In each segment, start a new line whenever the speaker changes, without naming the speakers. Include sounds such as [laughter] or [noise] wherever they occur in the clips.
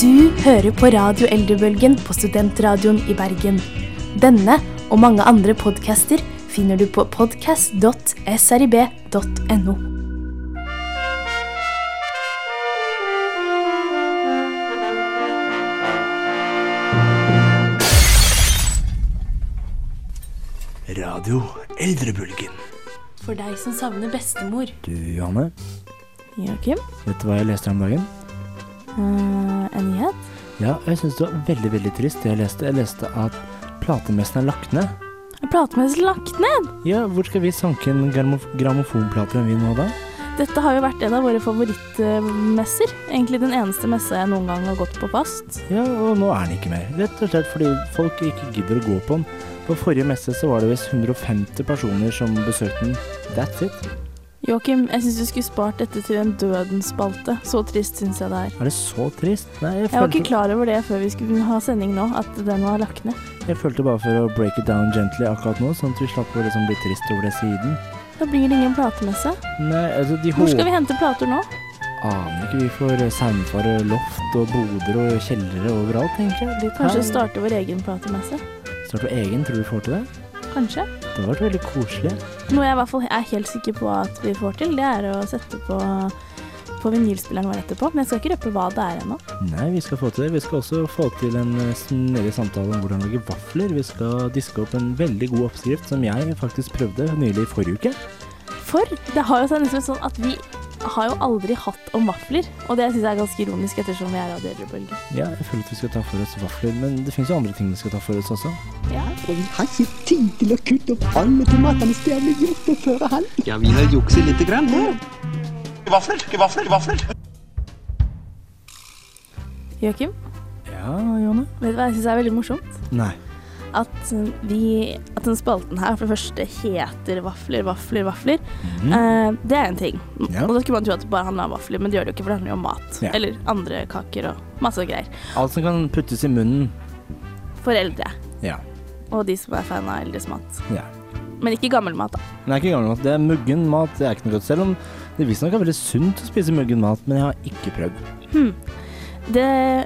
Du hører på Radio Eldrebølgen på Studentradioen i Bergen. Denne og mange andre podcaster finner du på podcast.srib.no.
Radio Eldrebølgen.
For deg som savner bestemor.
Du, Johanne,
Joakim,
vet du hva jeg leste her om dagen?
Eh, en nyhet?
Ja, jeg syns det var veldig veldig trist. det Jeg leste, jeg leste at platemessen er lagt ned.
Er platemessig lagt ned?
Ja, Hvor skal vi sanke en gramo- grammofonplate vi nå, da?
Dette har jo vært en av våre favorittmesser. Egentlig den eneste messa jeg noen gang har gått på fast.
Ja, Og nå er den ikke mer. Rett og slett fordi folk ikke gidder å gå på den. På forrige messe så var det visst 150 personer som besøkte den. That's it.
Joakim, jeg syns du skulle spart dette til en dødens-spalte. Så trist syns jeg det er.
Er det så trist? Nei, jeg
Jeg [laughs] var ikke
følte,
klar over det før vi skulle ha sending nå, at den var lagt ned.
jeg følte bare for å break it down gently akkurat nå, sånn at vi slapp å liksom bli trist over det siden.
Da blir det ingen platemesse.
Nei, altså de
Hvor skal vi hente plater nå?
Aner ikke. Vi får soundfare loft og boder og kjellere overalt, tenker jeg. Litt
Kanskje
her.
starte vår egen platemesse?
Starte egen, tror du vi får til det?
Kanskje.
Det hadde vært veldig koselig.
Noe jeg i hvert fall er helt sikker på at vi får til, det er å sette på, på vinylspilleren vår etterpå. Men jeg skal ikke røpe hva det er ennå.
Nei, vi skal få til det. Vi skal også få til en eh, snedig samtale om hvordan lage vafler. Vi skal diske opp en veldig god oppskrift som jeg faktisk prøvde nylig i forrige uke.
For det har jo seg nesten sånn at vi har jo aldri hatt om vafler. Og det syns jeg er ganske ironisk, ettersom vi er Radio Eldrebølge.
Ja, jeg føler at vi skal ta for oss vafler, men det finnes jo andre ting vi skal ta for oss også.
Ja.
Og vi har ikke tid til å kutte opp alle tomatene stjerne gjort og føre hand.
Ja, vi har jukset lite grann her. Vafler, vafler, vafler.
Joakim,
Ja, Jone?
vet du hva jeg syns er veldig morsomt?
Nei.
At, vi, at den spalten her for det første heter vafler, vafler, vafler. Eh, det er en ting.
Mhm. Ja.
Og da skulle man tro at det bare handler om vafler, men det gjør det jo ikke, for det handler jo om mat.
Ja.
Eller andre kaker og masse greier.
Alt som kan puttes i munnen.
For eldre.
Ja.
Og de som er fan av eldres mat.
ja.
Men ikke gammel mat, da.
Den er ikke gammel mat. Det er muggen mat. Det er ikke noe godt. Selv om det visstnok er veldig sunt å spise muggen mat, men jeg har ikke prøvd.
Det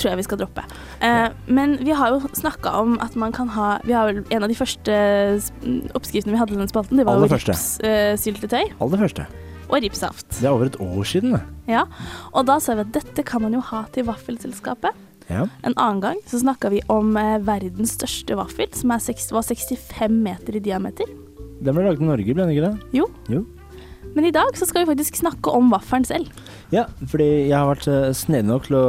tror jeg vi skal droppe. Eh, men vi har jo snakka om at man kan ha vi har vel En av de første s- oppskriftene vi hadde i den spalten, det var
Aller
jo
første.
ripssyltetøy
Aller første.
og ripssaft.
Det er over et år siden, det.
Ja. Og da sa vi at dette kan man jo ha til vaffelselskapet.
Ja.
En annen gang så snakka vi om eh, verdens største vaffel, som er seks- var 65 meter i diameter.
Den ble laget i Norge, ble den ikke det?
Jo.
Jo.
Men i dag så skal vi faktisk snakke om vaffelen selv.
Ja, fordi jeg har vært eh, snedig nok til å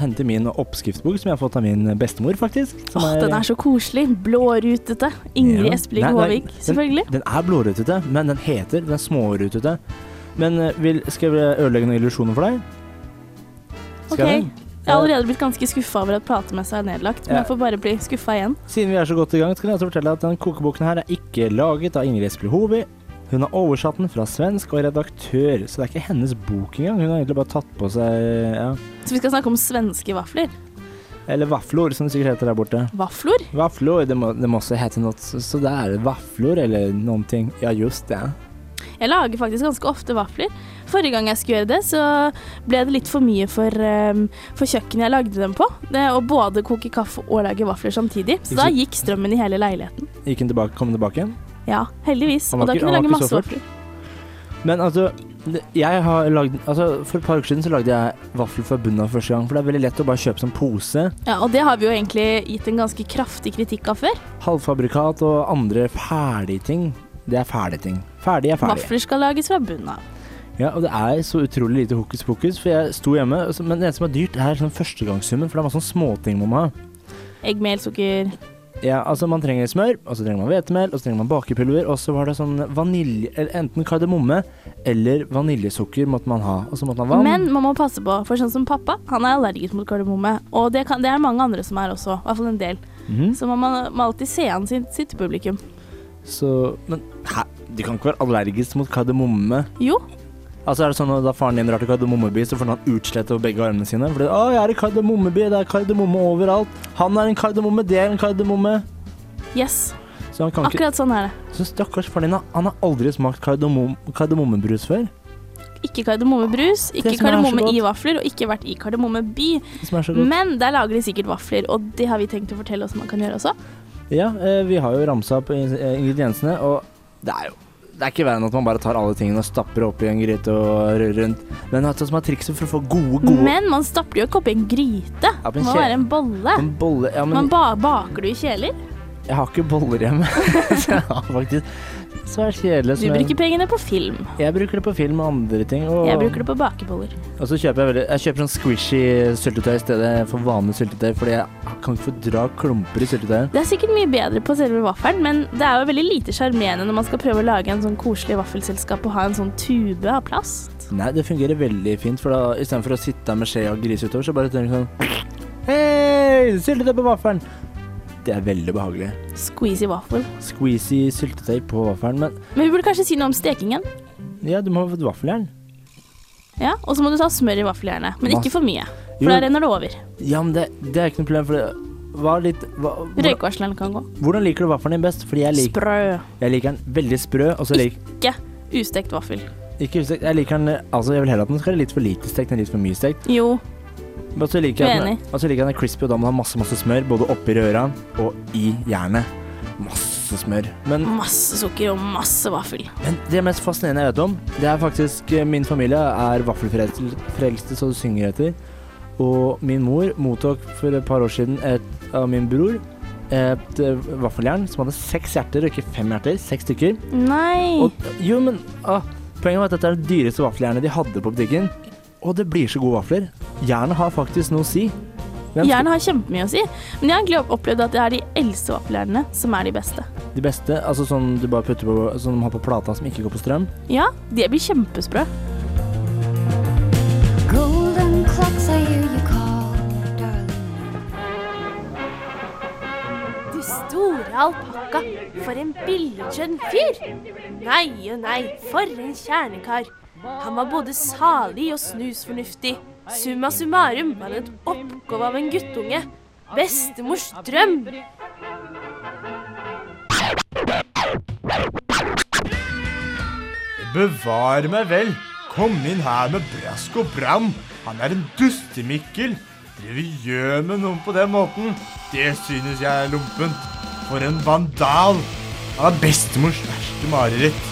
hente min oppskriftsbok, som jeg har fått av min bestemor, faktisk. Som
Åh, den er så koselig. Blårutete. Ingrid
Ja.
Espelid
Nei, nei,
Håvik,
den-
selvfølgelig.
Den er blårutete, men den heter Den er smårutete. Men eh, vil, skal jeg ødelegge noen illusjoner for deg?
Ok,
Skal jeg?
Jeg har allerede blitt ganske skuffa over at platemessa er nedlagt, men
Ja.
jeg får bare bli skuffa igjen.
Siden vi er så godt i gang, skal jeg også fortelle at den kokeboken her er ikke laget av Ingrid Espelid Hovi. Hun har oversatt den fra svensk og er redaktør, så det er ikke hennes bok engang. Hun har egentlig bare tatt på seg ja,
Så vi skal snakke om svenske vafler.
Eller vaflor, som det sikkert heter der borte.
Vaflor?
Vaflor, det må, det må også hete noe, så, så det er vaflor eller noen ting. Ja, just det.
Jeg lager faktisk ganske ofte vafler. Forrige gang jeg skulle gjøre det, så ble det litt for mye for, ehm, for kjøkkenet jeg lagde dem på. Det å både koke kaffe og lage vafler samtidig. Så da gikk strømmen i hele leiligheten.
Gikk hun tilbake, kom hun tilbake?
Ja, heldigvis.
Han
Og da
var ikke-
kunne jeg
han
lage
var ikke
masse
så
vafler.
Men altså, det- jeg har lagd Altså, for et par uker siden så lagde jeg vaffel fra bunnen av første gang, for det er veldig lett å bare kjøpe som pose.
Ja, og det har vi jo egentlig gitt en ganske kraftig kritikk av før.
Halvfabrikat og andre ferdigting. Det er ferdigting. Ferdig er ferdig.
Vafler skal lages fra bunnen av.
Ja, og det er så utrolig lite hokus pokus, for jeg sto hjemme, og så- men det eneste som er dyrt, er sånn førstegangssummen, for det er masse sånn småting man må ha.
Egg, mel, sukker
Ja, altså man trenger smør, og så trenger man hvetemel, og så trenger man bakepulver, og så var det sånn vanilje, eller enten kardemomme eller vaniljesukker måtte man ha, og så måtte man ha vann.
Men man må passe på, for sånn som pappa, han er allergisk mot kardemomme. Og det, kan, det er mange andre som er også, i hvert fall en del.
Mhm.
Så man må, må alltid se an sitt, sitt publikum.
Så, men hæ? Du kan ikke være allergisk mot kardemomme.
Jo,
Altså er det sånn at Da faren din drar til kardemommeby, så får han utslett over begge armene sine. Fordi 'Å, jeg er i kardemommeby, det er kardemomme overalt'. Han er en kardemomme, det er en kardemomme.
yes.
Så han kan ikke
Akkurat sånn er det.
Så stakkars faren din, han har aldri smakt kardemom, kardemommebrus før.
ikke kardemommebrus, ikke
som er så
kardemomme
godt.
i vafler, og ikke vært i Kardemomme by.
Det som er så godt.
Men der lager de sikkert vafler, og det har vi tenkt å fortelle oss man kan gjøre også.
Ja, eh, vi har jo ramsa opp in- eh, ingrediensene, og det er jo det er ikke verre enn at man bare tar alle tingene og stapper oppi en gryte og rører rundt. Men vet du hva som er trikset for å få gode, gode
Men man stapper jo ikke oppi en gryte.
Ja,
Det
men
må
kjele-
være en bolle.
en bolle Ja, men Sånn
Man ba baker du i kjeler?
jeg har ikke boller hjemme. [laughs] så jeg har faktisk svært kjedelig.
Du
som jeg-
bruker pengene på film.
Jeg bruker det på film og andre ting. Og,
Jeg bruker det på bakeboller.
og så kjøper jeg veldig Jeg kjøper sånn squishy syltetøy i stedet for vanlig syltetøy, fordi jeg kan ikke fordra klumper i syltetøyet.
Det er sikkert mye bedre på selve vaffelen, men det er jo veldig lite sjarmerende når man skal prøve å lage en sånn koselig vaffelselskap og ha en sånn tube av plast.
Nei, det fungerer veldig fint, for da istedenfor å sitte med skje og grise utover, så bare tenker du sånn Hei, syltetøy på vaffelen! Det er veldig behagelig.
Squeezy vaffel.
Squeezy syltetøy på vaffelen, men
Men vi burde kanskje si noe om stekingen.
ja, du må ha fått vaffeljern.
Ja, Og så må du ta smør i vaffeljernet, men ikke for mye. For
Jo.
da renner det over.
Ja, men det, det er ikke noe problem, for det var litt hva, hvordan,
Røykvarsleren kan gå.
hvordan liker du vaffelen din best? Fordi jeg, lik,
Sprø.
jeg liker den veldig sprø, og så lik,
Ikke ustekt vaffel.
Ikke ustekt. Jeg liker den Altså, jeg vil heller at den skal være litt for lite stekt enn litt for mye stekt.
Jo,
Men så liker jeg at den,
Uenig.
og så liker jeg den er crispy, og da må den ha masse, masse smør. Både oppi røra og i jernet. Masse smør. Men,
masse sukker og masse vaffel.
men det mest fascinerende jeg vet om, det er faktisk eh, Min familie er vaffelfrelste, så det synger etter. Og min mor mottok for et par år siden et, av min bror et eh, vaffeljern som hadde seks hjerter, og ikke fem hjerter. Seks stykker.
Nei.
Og, jo, men ah, Poenget var at dette er det dyreste vaffeljernet de hadde på butikken. Og det blir så gode vafler. Jernet har faktisk noe å si. Hvem skal-
Jernet har kjempemye å si, men jeg har egentlig opplevd at det er de eldste vaffeljernene som er de beste.
De beste, altså sånn du bare putter på Sånn de har på plata som ikke går på strøm.
Ja, de blir kjempesprø.
Golden clocks are you you call, darling.
Du store alpakka, for en billedskjønn fyr! Nei og nei, for en kjernekar. Han var både salig og snusfornuftig. Summa summarum var det et oppgave av en guttunge. Bestemors drøm!
Bevare meg vel. Kom inn her med brask og bram. Han er en dustemikkel. Driver gjør med noen på den måten. Det synes jeg er lompent. For en vandal. Han er bestemors verste mareritt.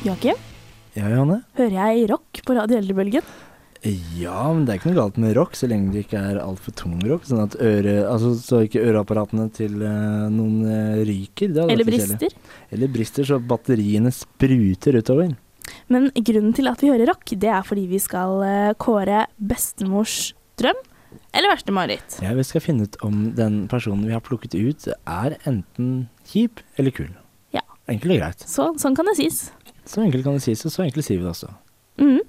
Joakim,
Ja, Johanne?
hører jeg rock på Radio Eldrebølgen?
Ja, men det er ikke noe galt med rock, så lenge det ikke er altfor tung rock. Sånn at øre, altså, så ikke øreapparatene til eh, noen eh, ryker. Det hadde
Eller
vært kjedelig.
brister?
Eller brister, så batteriene spruter utover.
Men grunnen til at vi hører rock, det er fordi vi skal eh, kåre bestemors drøm eller verste mareritt.
Ja, vi skal finne ut om den personen vi har plukket ut, er enten kjip eller kul.
Ja.
Enkelt og greit.
Så, sånn kan det sies.
Så enkelt kan det sies, og så enkelt sier vi det også.
Mhm.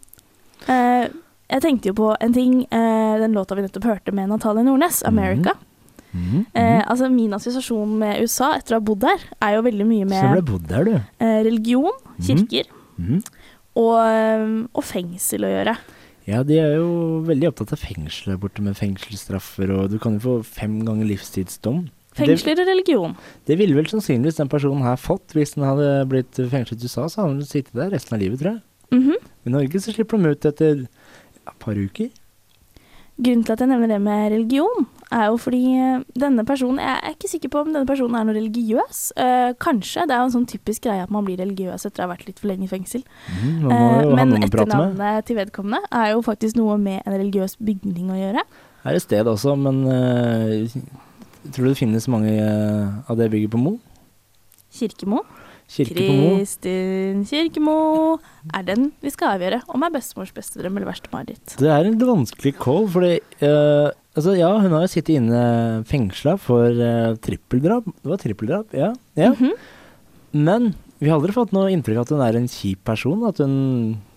Eh, jeg tenkte jo på en ting, eh, den låta vi nettopp hørte med Natalie
Mm.
Nordnes, 'America'.
Mhm.
Eh, altså Min assosiasjon med USA etter å ha bodd der, er jo veldig mye
Så du ble
med
bodd der, du.
eh, religion,
Mm.
kirker
Mhm.
og, eh, og fengsel å gjøre.
Ja, de er jo veldig opptatt av fengsel der borte, med fengselsstraffer, og du kan jo få fem ganger livstidsdom.
Fengsler og religion.
Det, det ville vel sannsynligvis den personen her fått hvis den hadde blitt fengslet i USA, så hadde den sittet der resten av livet, tror jeg.
Mhm.
I Norge så slipper de ut etter ja, et par uker.
Grunnen til at jeg nevner det med religion, er jo fordi eh, denne personen Jeg er ikke sikker på om denne personen er noe religiøs. Eh, kanskje. Det er jo en sånn typisk greie at man blir religiøs etter å ha vært litt for lenge i fengsel.
Mhm, man må
Eh,
jo ha
men
noen å prate med.
etternavnet til vedkommende er jo faktisk noe med en religiøs bygning å gjøre.
Her er et sted også, men eh, tror du det finnes mange eh, av det bygget på Mo?
Kirkemo.
Kirke på Mo?
Kristin Kirkemo er den vi skal avgjøre om er bestemors beste drøm eller verste mareritt.
Det er en vanskelig call, fordi eh, Altså, ja, hun har jo sittet inne fengsla for eh, trippeldrap. Det var trippeldrap, ja. ja.
Mhm.
Men vi har aldri fått noe inntrykk av at hun er en kjip person. At hun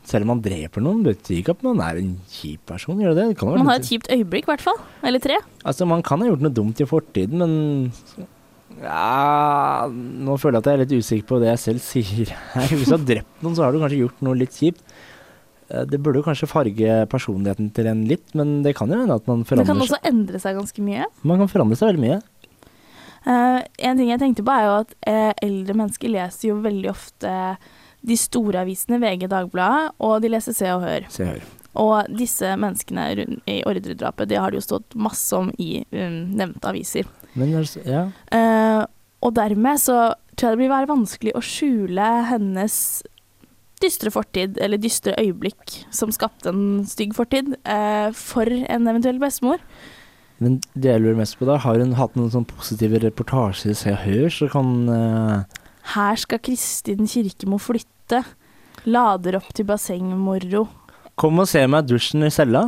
Selv om man dreper noen, betyr ikke at man er en kjip person. Gjør det det? det kan være
Man har
litt-
et kjipt øyeblikk, i hvert fall. Eller tre.
Altså, man kan ha gjort noe dumt i fortiden, men ja, Nå føler jeg at jeg er litt usikker på det jeg selv sier her. Hvis du har drept noen, så har du kanskje gjort noe litt kjipt. Eh, Det burde jo kanskje farge personligheten til en litt, men det kan jo hende at man
Det kan
forandrer seg.
også endre seg ganske mye.
Man kan forandre seg veldig mye.
Eh, en ting jeg tenkte på, er jo at eh, eldre mennesker leser jo veldig ofte de store avisene, VG, Dagbladet, og de leser Se og Hør.
Se her.
Og disse menneskene rundt i ordredrapet, det har det jo stått masse om i um, nevnte aviser.
Men altså, ja.
Eh, og dermed så tror jeg det vil være vanskelig å skjule hennes dystre fortid, eller dystre øyeblikk som skapte en stygg fortid, eh, for en eventuell bestemor.
Men det jeg lurer mest på da, har hun hatt noen sånne positive reportasjer i Se og Hør, så kan eh,
Her skal Kristin Kirkemo flytte. Lader opp til bassengmoro.
Kom og se meg i dusjen i cella.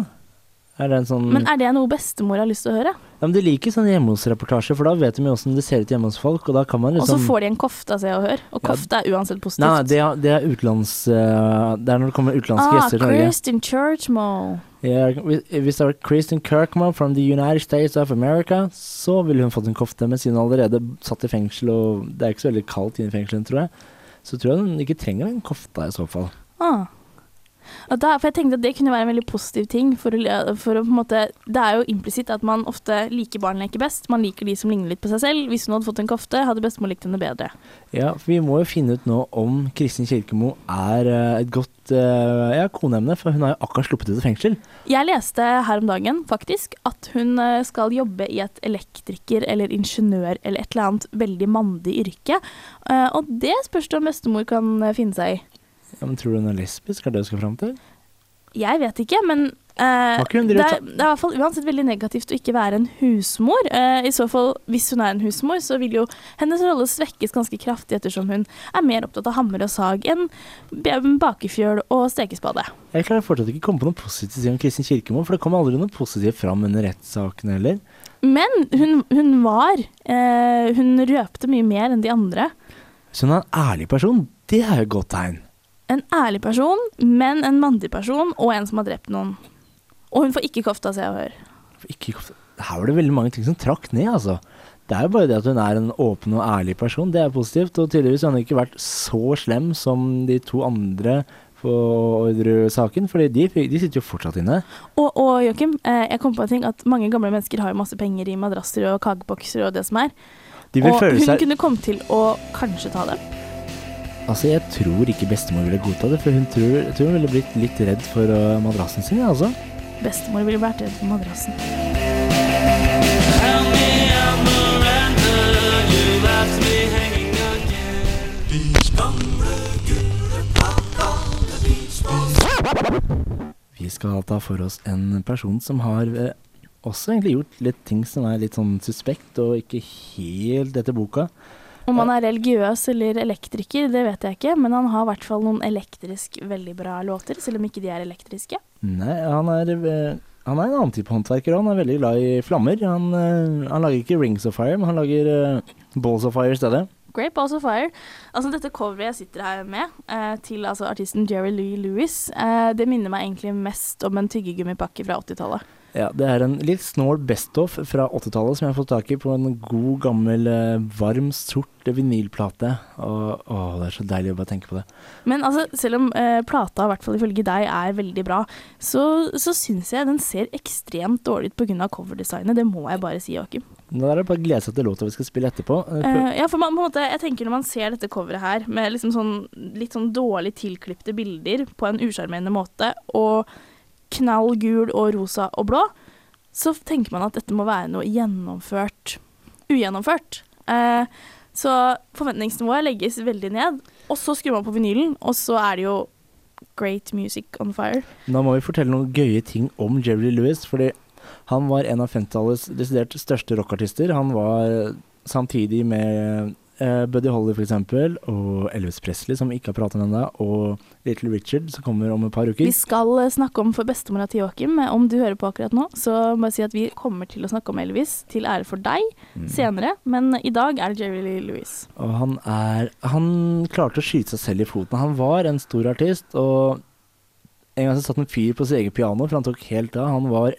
Er det en sånn
Men er det noe bestemor har lyst til å høre?
Ja, men De liker sånne hjemme hos-reportasjer, for da vet de jo åssen det ser ut hjemme hos folk, og da kan man
Og så
liksom
får de en kofte av Se og Hør, og
Ja.
kofte er uansett positivt.
Nei, nei, det er, det er utenlands eh, Det er når det kommer utenlandske
ah,
gjester til Norge.
Kristin Churchmo.
Ja, hvis- hvis det var Kristin Kirkman from the United States of America, så ville hun fått en kofte, men siden hun allerede satt i fengsel, og det er ikke så veldig kaldt inne i fengselet, tror jeg, så tror jeg hun ikke trenger den kofta i så fall.
Ah. Og da, for jeg tenkte at det kunne være en veldig positiv ting. For å, le- for å på en måte, det er jo implisitt at man ofte liker barn leker best. Man liker de som ligner litt på seg selv. Hvis hun hadde fått en kofte, hadde bestemor likt henne bedre.
Ja, for vi må jo finne ut nå om Kristin Kirkemo er eh, et godt eh, ja, koneemne, for hun har jo akkurat sluppet ut av fengsel.
Jeg leste her om dagen faktisk at hun eh, skal jobbe i et elektriker eller ingeniør eller et eller annet veldig mandig yrke. Eh, Og det spørs det om bestemor kan eh, finne seg i.
Ja, men tror du hun er lesbisk, er det hun skal fram til?
Jeg vet ikke, men eh,
Har ikke hun
det,
drevet
er, det er i hvert fall uansett veldig negativt å ikke være en husmor. Eh, I så fall, hvis hun er en husmor, så vil jo hennes rolle svekkes ganske kraftig ettersom hun er mer opptatt av hammer og sag enn be- bakefjøl og stekespade.
Jeg klarer fortsatt ikke å komme på noe positivt om Kristin Kirkemo, for det kom aldri noe positivt fram under rettssaken heller.
Men hun, hun var eh, Hun røpte mye mer enn de andre.
Så hun er en ærlig person, det er jo et godt tegn.
En ærlig person, men en mandig person, og en som har drept noen. Og hun får ikke kofta, se og hør.
For ikke, her var det veldig mange ting som trakk ned, altså. Det er jo bare det at hun er en åpen og ærlig person, det er positivt. Og tydeligvis har hun ikke vært så slem som de to andre på ordresaken, fordi de, fikk- de sitter jo fortsatt inne.
Og, og Joakim, eh, jeg kom på en ting at mange gamle mennesker har jo masse penger i madrasser og kakebokser og det som er.
De vil
Og
føle
hun
seg
kunne komme til å kanskje ta dem.
Altså, jeg tror ikke bestemor ville godta det, for hun tror, jeg tror hun ville blitt litt redd for øh, madrassen sin, ja, altså.
Bestemor ville vært redd for madrassen.
Vi skal ta for oss en person som har eh, også egentlig gjort litt ting som er litt sånn suspekt og ikke helt etter boka.
Om han er religiøs eller elektriker, det vet jeg ikke, men han har i hvert fall noen elektrisk veldig bra låter, selv om ikke de er elektriske.
Nei, han er, eh, han er en annen type håndverker og han er veldig glad i flammer. Han, eh, han lager ikke Rings of Fire, men han lager eh, Balls of Fire i stedet.
Great Balls of Fire. Altså Dette coveret jeg sitter her med, eh, til altså, artisten Jerry Louis Lewis, eh, det minner meg egentlig mest om en tyggegummipakke fra 80-tallet.
Ja, Det er en litt snål best-off fra 80-tallet som jeg har fått tak i på en god, gammel, eh, varm, sort vinylplate. Og, å, det er så deilig å bare tenke på det.
Men altså, selv om eh, plata, i hvert fall ifølge deg, er veldig bra, så, så syns jeg den ser ekstremt dårlig ut pga. coverdesignet. Det må jeg bare si, Joakim.
Nå er det bare å glede seg til låta vi skal spille etterpå.
Eh, ja, for man, på en måte, jeg tenker Når man ser dette coveret her, med liksom sånn, litt sånn dårlig tilklipte bilder på en usjarmerende måte, og knall gul og rosa og blå, så tenker man at dette må være noe gjennomført ugjennomført. Eh, så forventningsnivået legges veldig ned, og så skrur man på vinylen, og så er det jo Great Music on Fire.
Da må vi fortelle noen gøye ting om Jerry Lewis, fordi han var en av 50-tallets desidert største rockartister. Han var eh, samtidig med eh, Buddy Holly for eksempel, og Elvis Presley, som vi ikke har pratet om ennå, og Little Richard, som kommer om et par uker.
Vi skal eh, snakke om for bestemora til Joakim. eh, Om du hører på akkurat nå, så må jeg si at vi kommer til å snakke om Elvis, til ære for deg, senere. Men i dag er det Jerry Lee Lewis.
Og han er Han klarte å skyte seg selv i foten. Han var en stor artist, og en gang så satt en fyr på sitt eget piano, for han tok helt av. Han var,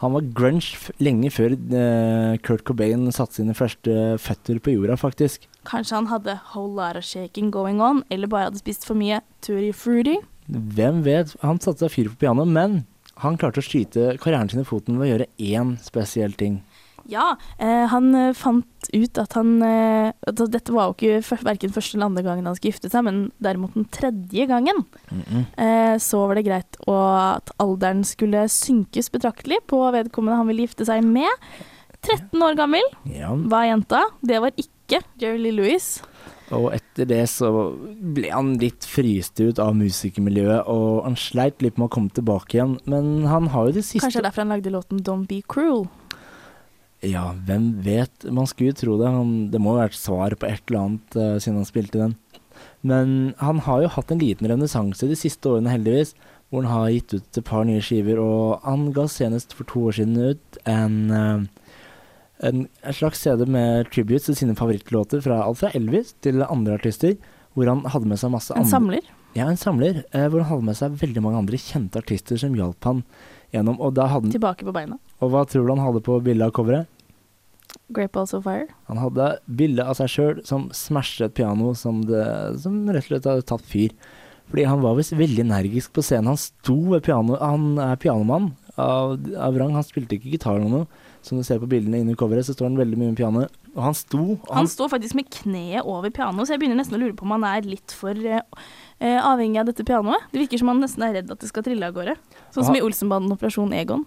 han var grunge f- lenge før eh, Kurt Cobain satte sine første føtter på jorda, faktisk.
Kanskje han hadde whole lot of shaking going on, eller bare hadde spist for mye tutti frutti.
Hvem vet? Han satte seg fyr på pianoet, men han klarte å skyte karrieren sin i foten ved å gjøre én spesiell ting.
Ja, eh, han eh, fant ut at han eh, at Dette var jo ikke før- verken første eller andre gangen han skulle gifte seg, men derimot den tredje gangen. eh, så var det greit å, at alderen skulle synkes betraktelig på vedkommende han ville gifte seg med. 13 år gammel
Ja.
var jenta. Det var ikke Jerry Lee Louis.
Og etter det så ble han litt fryst ut av musikermiljøet, og han sleit litt med å komme tilbake igjen. Men han har jo det siste
Kanskje det er derfor han lagde låten 'Don't Be Cruel'.
Ja, hvem vet? Man skulle jo tro det. Han, det må jo være et svar på et eller annet eh, siden han spilte den. Men han har jo hatt en liten renessanse de siste årene, heldigvis. Hvor han har gitt ut et par nye skiver, og han ga senest for to år siden ut en eh, en, en slags CD med tributes til sine favorittlåter, fra, alt fra Elvis til andre artister. Hvor han hadde med seg masse
En
andre
samler.
Ja, en samler. Eh, hvor han hadde med seg veldig mange andre kjente artister som hjalp han gjennom. Og, da hadde han,
Tilbake på beina.
og hva tror du han hadde på bildet av coveret?
Great Balls of Fire.
Han hadde bilde av seg sjøl som smashet et piano som, det, som rett og slett hadde tatt fyr. Fordi han var visst veldig energisk på scenen. Han sto ved pianoet. Han er pianomann av, av rang. Han spilte ikke gitar eller noe. Som du ser på bildene inni coveret, så står han veldig mye med pianoet. Og han sto og
Han
han,
står faktisk med kneet over pianoet, så jeg begynner nesten å lure på om han er litt for eh, eh, avhengig av dette pianoet. Det virker som han nesten er redd at det skal trille av gårde. Sånn som
Ah.
i Olsenbanden Operasjon Egon.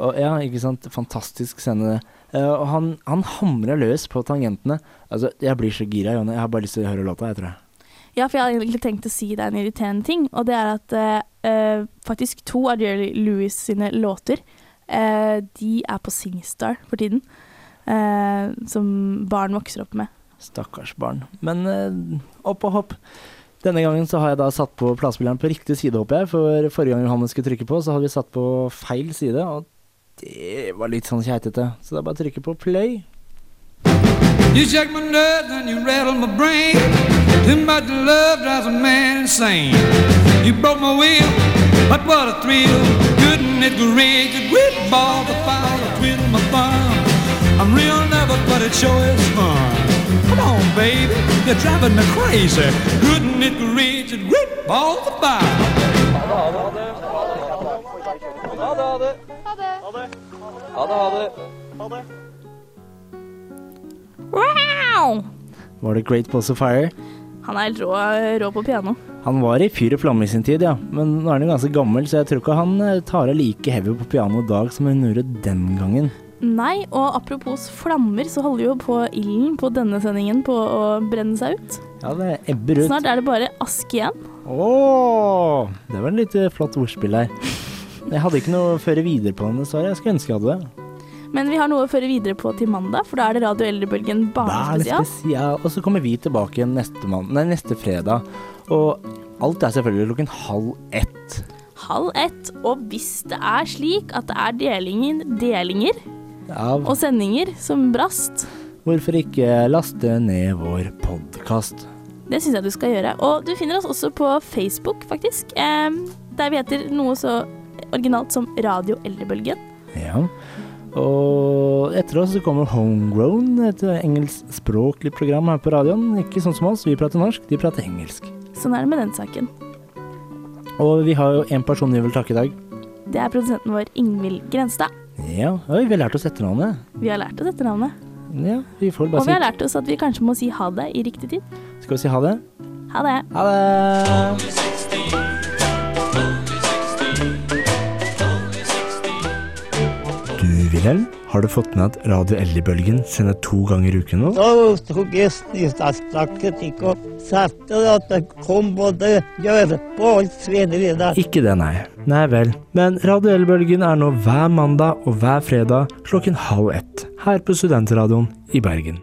og, Ja, ikke sant. Fantastisk scene, det. Eh, og han, han hamra løs på tangentene. Altså, jeg blir så gira, Jonny. Jeg har bare lyst til å høre låta, jeg tror jeg.
Ja, for jeg har egentlig tenkt å si det er en irriterende ting, og det er at eh, eh, faktisk to av Jerry Lewis sine låter, eh, de er på Singstar for tiden. eh, som barn vokser opp med.
Stakkars barn. Men eh, opp og hopp. Denne gangen så har jeg da satt på platespilleren på riktig side, håper jeg. For forrige gang Johannes skulle trykke på, så hadde vi satt på feil side. Og det var litt sånn keitete. Så det er bare å trykke på play.
You shake my nerves and you rattle my brain. Too much love drives a man insane. You broke my will, but what a thrill! Couldn't it great? Could quit ball the foul to twiddle my thumb? I'm real nervous, but it sure is fun. Come on, baby, you're driving me crazy. Couldn't it great? Could quit ball the foul?
Wow!
Var det Great Balls of Fire?
Han er helt rå, rå på piano.
Han var i fyr og flamme i sin tid, ja. Men nå er han jo ganske gammel, så jeg tror ikke han eh, tar av like heavy på piano i dag som hun gjorde den gangen.
Nei, og apropos flammer, så holder jo på ilden på denne sendingen på å brenne seg ut.
Ja, det ebber ut.
Snart er det bare ask igjen.
Ååå! Det var en litt eh, flott ordspill her. Jeg hadde ikke noe å føre videre på den, dessverre. Jeg skulle ønske jeg hadde det.
Men vi har noe å føre videre på til mandag, for da er det Radio Eldrebølgen barnespesial.
Barnespesial. Og så kommer vi tilbake igjen neste, mann- nei, neste fredag. Og alt er selvfølgelig klokken halv ett.
Halv ett. Og hvis det er slik at det er delinger, delinger
Av
og sendinger som brast,
hvorfor ikke laste ned vår podkast?
det syns jeg du skal gjøre. Og du finner oss også på Facebook, faktisk. Eh, der vi heter noe så originalt som Radio Eldrebølgen.
Ja. Og etter oss så kommer Homegrown, et engelskspråklig program her på radioen. Ikke sånn som oss, vi prater norsk, de prater engelsk.
Sånn er det med den saken.
Og vi har jo en person vi vil takke i dag.
Det er produsenten vår Ingvild Grenstad.
Ja, oi, vi har lært oss etternavnet.
Vi har lært oss dette navnet.
Ja, vi får
Og
bare
vi har
si
lært oss at vi kanskje må si ha det i riktig tid.
Skal vi si ha det?
Ha det.
Ha det! Du, Wilhelm, har du fått med at Radio Eldrebølgen sender to ganger i uken nå?
Da tok jeg snistakstakket ikke og satte det at det kom både gjørpe og svinner i det.
Ikke det, nei. Nei vel. Men Radio Eldrebølgen er nå hver mandag og hver fredag klokken halv ett her på Studentradioen i Bergen.